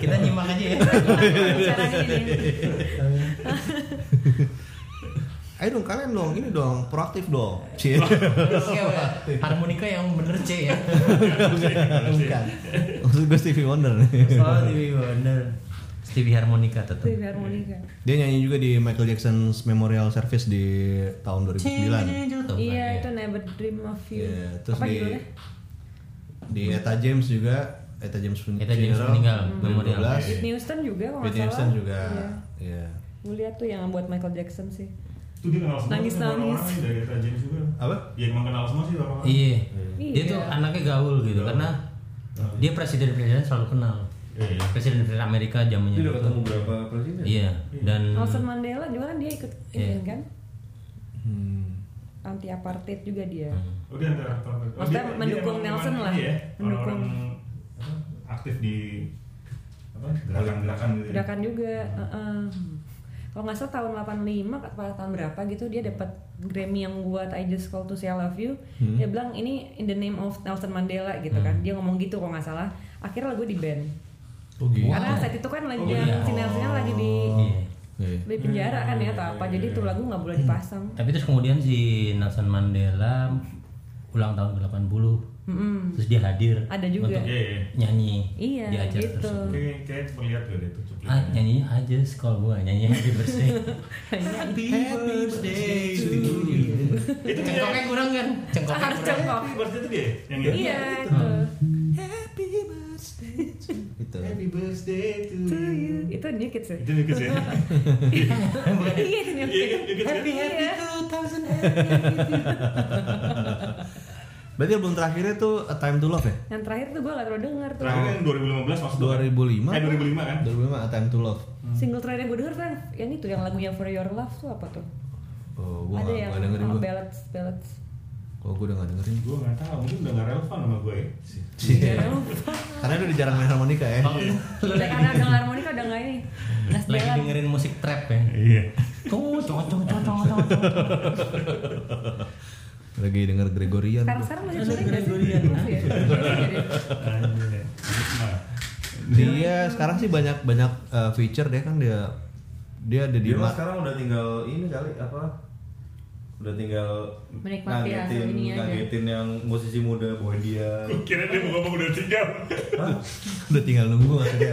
Kita nyimak aja ya. Caranya ini. Ayo dong kalian dong, ini dong proaktif dong. Cie. Oke, Pak. harmonika yang bener C ya. Bukan. Maksud gue Stevie Wonder nih. Oh, Stevie Wonder. Stevie harmonika tetap. Beli harmonika. Dia nyanyi juga di Michael Jackson's Memorial Service di tahun 2009. Iya itu Never Dream of You. Ya, terus Apa di judulnya? di Eta James juga, Eta James pun Etta James meninggal, Memorial. 2012. Whitney Houston juga kalau nggak Whitney salah. Houston juga. Iya. Iya. Gue lihat tuh yang buat Michael Jackson sih. Itu dia kenal semua. Nangis, tuh orang-orang nangis. nih Dari Eta James juga. Apa? Ya emang kenal semua sih orang-orang. Iya. Iya. Dia tuh anaknya gaul gitu karena dia presiden-presiden selalu kenal. Iya, iya. Presiden Presiden Amerika zamannya Dia udah ketemu itu. berapa presiden? Iya. Hmm. Dan Nelson Mandela juga kan dia ikut ini Iya. kan Hmm. anti apartheid juga dia. Oh, dia antara aktor- oh, Maksudnya dia- dia mendukung emang- Nelson emang lah. ini ya, Mendukung. orang-orang, apa, aktif di apa gerakan-gerakan gitu. ya. Gerakan juga. heeh. Kalau nggak salah tahun 85 atau tahun berapa gitu dia dapat Grammy yang buat I Just Call to Say I Love You. Dia bilang ini in the name of Nelson Mandela gitu kan. Dia ngomong gitu kalau nggak salah. Akhirnya lagu di band. Oh gitu. Karena saat itu kan lagi yang si Nelsonnya lagi di Iya. Iya. di penjara kan ya atau apa. Jadi itu lagu nggak boleh dipasang. Tapi terus kemudian si Nelson Mandela ulang tahun ke-80. Mm-mm. Terus dia hadir Ada juga. Iya, iya. nyanyi Iya, di acara gitu. tersebut. Kayak kayak melihat tuh deh itu Ah, cuplikannya. nyanyi aja sekolah gua nyanyi happy birthday. happy birthday to you. Itu cengkoknya kurang kan? Cengkoknya Harus kurang. cengkok. Tapi berarti itu dia ya? yang itu? Iya itu. Gitu. Happy birthday to you. Itu New Kids ya? Itu juga sih. Iya itu New Kids. Happy happy Iya. 2000 happy. Berarti album terakhirnya tuh A Time to Love ya? Yang terakhir tuh gue gak terlalu denger tuh Terakhir yang 2015 maksud lu kan? 2005. Eh 2005 kan? 2005 A Time to Love. Single terakhir yang gue denger kan yang itu yang lagunya For Your Love tuh apa tuh? Oh, gua Ada nggak yang nggak dengerin ah, gua. ballads, ballads Kalau gua udah nggak dengerin. Gue nggak tahu, mungkin udah nggak relevan sama gue. ya. Iya. Karena dia udah jarang main harmonika ya. Oh, Dan karena ada harmonika udah gak ini Las Lagi Ballad dengerin musik trap ya. Iya. Tuh, cong cong cong cong cong. Lagi denger Gregorian. Sekarang sekarang masih Ada sering gak sih? Gregorian. Masih ya? Anjir. Nah, Dia Iya, sekarang sih banyak banyak eh, feature dia kan dia dia ada di Dia mah ma- sekarang udah tinggal ini kali apa? Udah tinggal Menikmati hasil ngagetin, ininya aja. ngagetin yang musisi muda boy dia. Gue kira dia mau ngomong udah tinggal. udah tinggal nunggu maksudnya.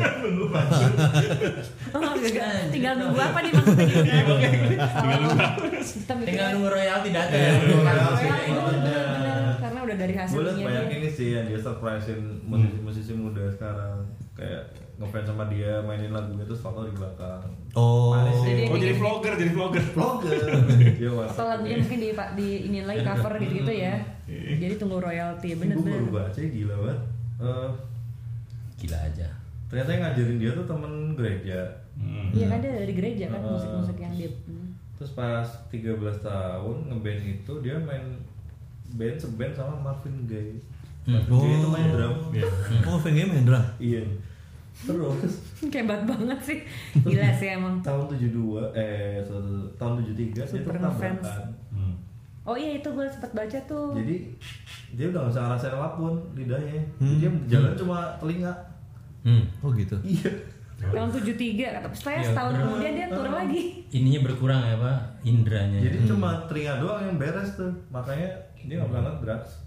Oh, gagal. Tinggal nunggu apa nih maksudnya gitu Tinggal Tinggal Iya, nunggu royalti datang. Karena udah dari hasil Gue liat ininya banyak dia. ini sih yang dia surprisein musisi-musisi muda sekarang kayak ngefans sama dia mainin lagunya terus foto di belakang. Oh. Manis sih. Jadi- Oh jadi vlogger, jadi vlogger. Vlogger. Iya, Dia Atau WhatsApp. lagunya mungkin di, di iniin lagi cover gitu-gitu ya Jadi tunggu royalti, Gue baru bener-bener baca gila banget. Eh, Gila aja. ternyata yang ngajarin dia tuh temen gereja. Hmm, Iya kan dia dari gereja kan musik-musik yang dia hmm. Terus pas 13 tahun ngeband itu dia main band seband sama Marvin Gaye. Marvin Gaye itu main drum. Oh, Venga main drum. Iya. Terus Kebat banget sih Gila sih emang tahun 72 eh sorry, tahun 73 dia Super ngefans. tertabrakan. hmm. Oh iya itu gue sempet baca tuh Jadi dia udah gak bisa ngerasain apapun lidahnya. Jadi Dia jalan cuma telinga. Hmm. Oh gitu. Iya. Tahun 73 kata Setelah Iya. setahun kemudian dia tur lagi Ininya berkurang ya, Pak, indranya. Hmm. Jadi cuma telinga doang yang beres tuh. Makanya dia gak pernah drugs.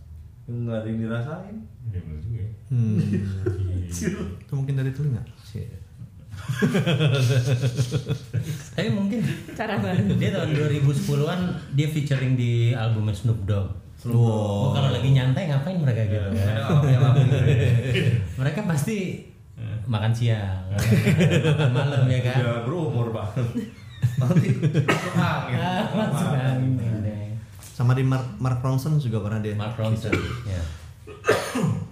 Nggak ada yang dirasain. Iya bener juga ya. Hmm. Itu mungkin dari telinga. Shit. Tapi mungkin Cara baru dia tahun 2010-an dia featuring di albumnya Snoop Dogg. Oh, Wow. kalau lagi nyantai ngapain mereka gitu kan? mereka pasti makan siang, makan malam ya kan? Ya bro umur banget. Nanti masuk angin. Ah, Iya. masuk angin, deh. Sama di Mark, Mark Ronson juga pernah dia. Mark Ronson, ya.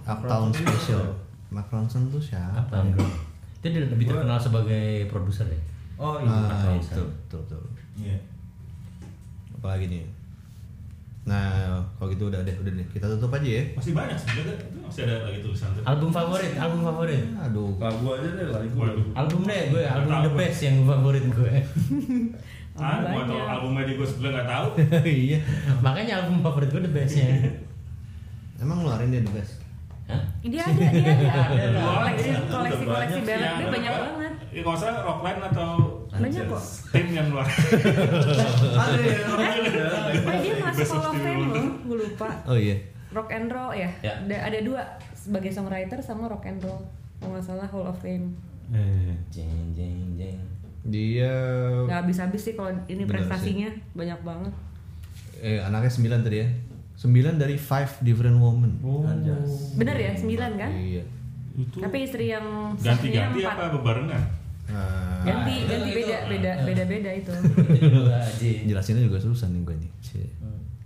Uptown Special. Mark Ronson tuh siapa? Uptown Girl. Dia dia lebih terkenal sebagai produser ya. Oh iya. Ah, Ronson. itu, betul, betul. Iya. Apalagi nih. Nah, kalau gitu udah deh, udah deh. Kita tutup aja ya. Masih banyak sebenarnya. Itu masih ada lagi tulisan tuh. Album favorit, album favorit. Aduh. Lagu aja deh lagu. Waduh. Album deh gue, album the best yang favorit gue. Ah, gue tau albumnya di gue sebelah nggak tahu. iya. Makanya album favorit gue the ya. bestnya. Emang ngeluarin dia the best. Hah? Dia ada, dia ada Wah, Koleksi, iya, koleksi, koleksi udah banyak. ballad Yang dia banyak apa? banget Ya nggak usah Rockline atau Banyak kok tim yang luar. Ada ya. ada. Oh dia masuk Best Hall of of Stevie Fame Wonder. loh Gue lupa Oh iya. Rock and Roll ya Iya. Ya. Ada ada dua Sebagai songwriter sama rock and roll Kalau nggak salah Hall of Fame Eh, Jeng jeng jeng. Dia Gak habis-habis sih kalau ini Benar prestasinya Banyak banget eh anaknya 9 tadi ya. 9 dari 5 different women. Oh. Anjas. Bener ya, 9 kan? Iya. Itu Tapi istri yang sahnya ganti-ganti empat. apa bebarengan? Nah, Ganti, Ah, itu- ganti itu- beda, beda, beda, beda itu. Itu juga aja. jelasinnya juga susah nih gue nih. Cie.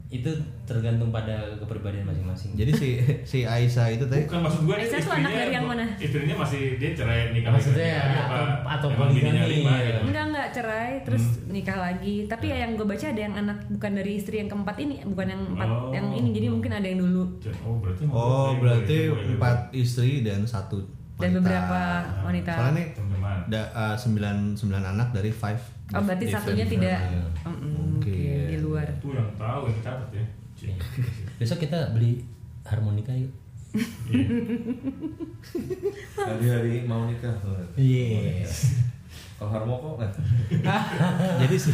itu tergantung pada kepribadian masing-masing. Jadi si si Aisyah itu teh Bukan maksud gue Aisyah tuh anak dari yang mana? Istrinya masih dia cerai nikah lagi Maksudnya atau, atau ya. emang bininya poligami. lima gitu. Enggak enggak cerai terus nikah lagi. Tapi ya yang gue baca ada yang anak bukan dari istri yang keempat ini, bukan yang empat Oh. yang ini. Jadi mungkin ada yang dulu Oh berarti ya, Oh emang berarti playboy, empat istri dan satu dan wanita. beberapa wanita. Soalnya nih Teman-teman. da, eh, sembilan sembilan anak dari five. Oh berarti different satunya tidak family. Mm-mm, Mungkin. mungkin di luar. Itu yang tahu yang catat ya. Cik. Besok kita beli harmonika yuk. Hari-hari mau nikah. Iya. Kalau harmoko kan. Jadi si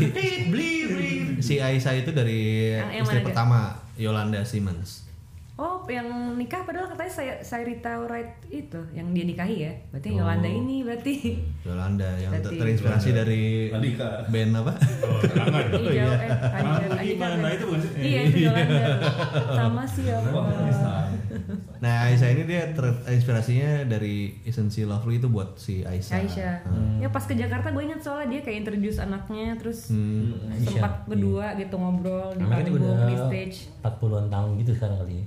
si Aisyah itu dari Yang- yang istri mana, Kak? pertama Yolanda Simmons. Oh, yang nikah padahal katanya saya Sairita Wright itu yang dia nikahi ya. Berarti Yolanda ini berarti. Yolanda yang ter- Berarti- terinspirasi dari Andika. band apa? Oh, tangan. Hijau eh Kamu Andika, gimana itu bukan sih? Iya, itu Yolanda. Sama sih ya. Wah, bisa. Nah Aisyah ini dia terinspirasinya dari Isn't She Lovely itu buat si Aisyah. Hmm. Aisyah. Ya pas ke Jakarta gue inget soalnya dia kayak introduce anaknya terus sempat berdua gitu ngobrol di Namanya kan panggung udah di stage. 40-an tahun gitu sekarang kali ya.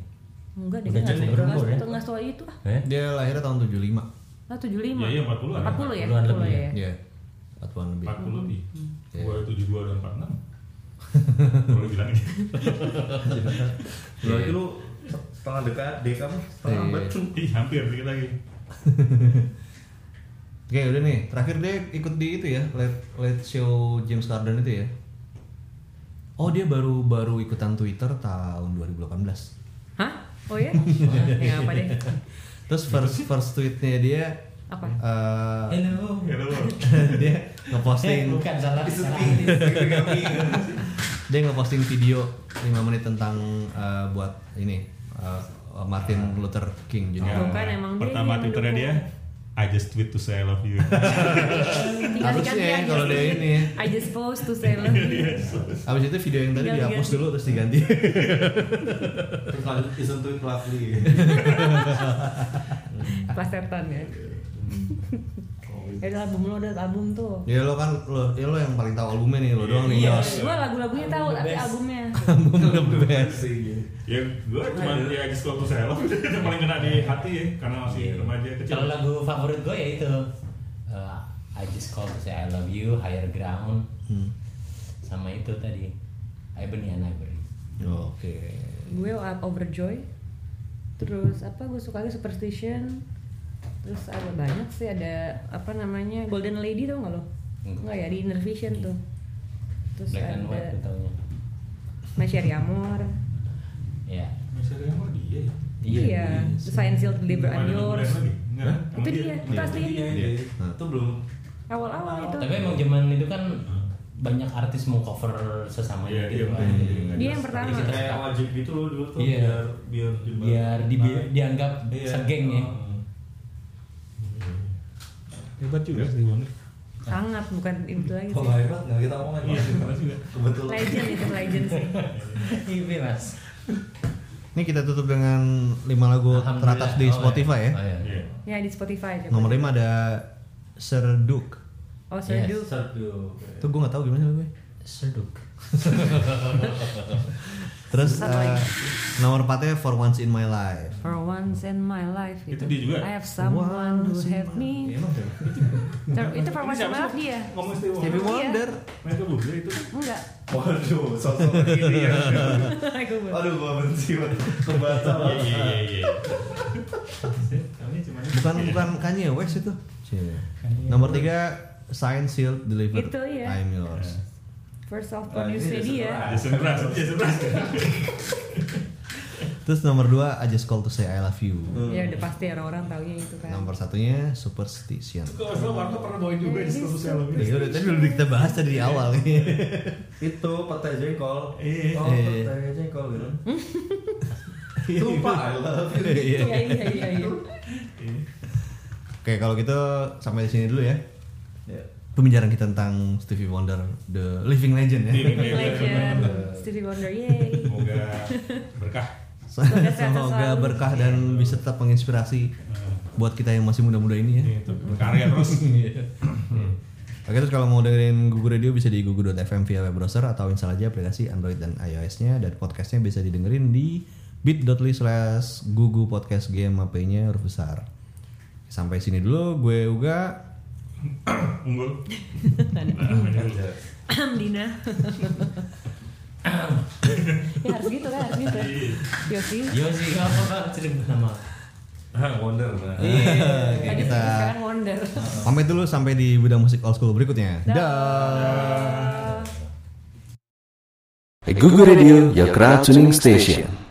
Enggak deh, Udah nggak cukup nggak- berumur ya? nggak setua itu ah. Eh? Dia lahirnya tahun 75. Nah, 75. Iya, iya, 40-an. 40 ya. 40-an 40 lebih ya. Iya. Satuan lebih. 40 lebih. Hmm. Iya. Gua 72 dan 46. Kalau lu bilang ini. Iya. Berarti lu setengah dekat deka mah setengah Iya. abad. Ih, hampir dikit lagi. Oke udah nih, terakhir dia ikut di itu ya, late, late show James Corden itu ya. Oh dia baru baru ikutan Twitter tahun 2018. Hah? Oh ya? ya apa deh. Terus first first tweetnya dia Apa? eh, Hello. Ya lu. Iya. dia Eh, ngeposting bukan salah. salah. dia ngeposting video 5 menit tentang eh, buat ini eh, Martin Luther King jadi Tuh kan, emang dia Pertama yang Twitternya dia I just tweet to say I love you. Tinggal Harusnya diganti aja. kalau dia ini. I just post to say love you. Abis itu video yang tadi Tinggal dihapus diganti. dulu terus diganti. Terus lanjut isn't it lovely. Plasetan ya. Ya udah album lo ada album tuh. ya lo kan lo, ya lo yang paling tahu albumnya nih lo Iya, doang nih. Iya, Yos. Gue lagu-lagunya tahu tapi albumnya. Album Iya. the best. ya gue cuma iya. ya just call to say I love you. Itu paling kena di hati ya karena masih remaja kecil. Iya. Kalau lagu favorit gue ya itu. Eh, I just call to say I love you, higher ground. Sama itu tadi. Ibony and Ivory. Oke. Gue Up Overjoy. Terus apa gue suka lagi Superstition. Terus ada banyak sih ada apa namanya Golden Lady tau nggak lo? Enggak. Enggak ya di Inner Vision tuh. Terus Black and White gue ada taunya. Masyari Amor. Ya. Masih ada yang mau dia ya? Iya, Science Shield Deliver Ada and Yours. lagi? Enggak, emang Itu dia, Iya, itu aslinya. iya. Iya. Itu belum Awal-awal itu. Tapi emang zaman itu kan banyak artis mau cover Iya, sesamanya iya, gitu kan. makanya. Dia yang pertama. Iya. kayak wajib gitu loh dulu tuh Iya. biar biar jembat. Biar di, Nah, dianggap iya. segeng ya. Hmm. Hebat juga sih Wonder. Sangat bukan itu lagi Kok sih. nggak hebat nggak kita omongan Iya, hebat juga. kebetulan. Legend itu legend sih. Iya mas. Ini kita tutup dengan 5 lagu Alhamdulillah. teratas di Oh, Spotify ya. Oh, iya. Iya. Ya di Spotify aja. Nomor 5 ada Serduk. Oh, Serdu. Satu. Itu gue gak tau gimana sih gue. Serduk. Terus Satu eh, lagi. nomor 4 nya For Once in My Life. For once in my life gitu. Itu dia juga? I have someone who have me. Ter- itu for Ini once in siapa my life sih? dia. Ngomong Stevie Stevie Wonder. iya. Wonder. Mereka bubble itu. Enggak. Waduh, sosok ini Iya, ya. Aku buat. Aduh, gua benci banget. Kebaca Iya, banget. iya, iya, iya. Kami cuma Bukan Iya. bukan Kanye West itu. Nomor 3 Science Shield Deliver Itu, iya. I'm Yours. First of Nah, ini produce udah dia. sebelah. Jason Mraz, Jason Mraz. Terus nomor 2 I Just Call to Say I Love You. Ya udah pasti orang-orang taunya itu kan. Nomor satunya Superstition. Kok nggak salah Warna pernah bawain juga di status saya lebih. Ya udah tadi udah kita bahas tadi di awal nih. Itu petai jengkol. Iya. Oh, Iya. petai jengkol gitu. Lupa, I love you. Iya iya iya iya. Oke, kalau gitu sampai di sini dulu ya. Ya. Pembicaraan kita tentang Stevie Wonder the living legend ya. Living Legend. um, Stevie Wonder yay. Semoga berkah. Semoga sehat Semoga selalu. berkah dan bisa tetap menginspirasi buat kita yang masih muda-muda ini ya. Iya, itu berkarya terus. Oke terus kalau mau dengerin Gugu Radio bisa di gugu.fm via web browser atau install aja aplikasi Android dan iOS-nya dan podcastnya bisa didengerin di bit.ly slash gugu podcast nya huruf besar. Sampai sini dulu gue Uga. Unggul. Nah, ini dulu. Dina. ya harus gitu kan, harus gitu. Yosi. Yosi apa kan cerita nama. Hah, wonder nah. Iya. Oke Tadi kita sekarang wonder. pamit dulu sampai di bidang musik old school berikutnya. Dah. Dah. E Google Radio, your crowd tuning station.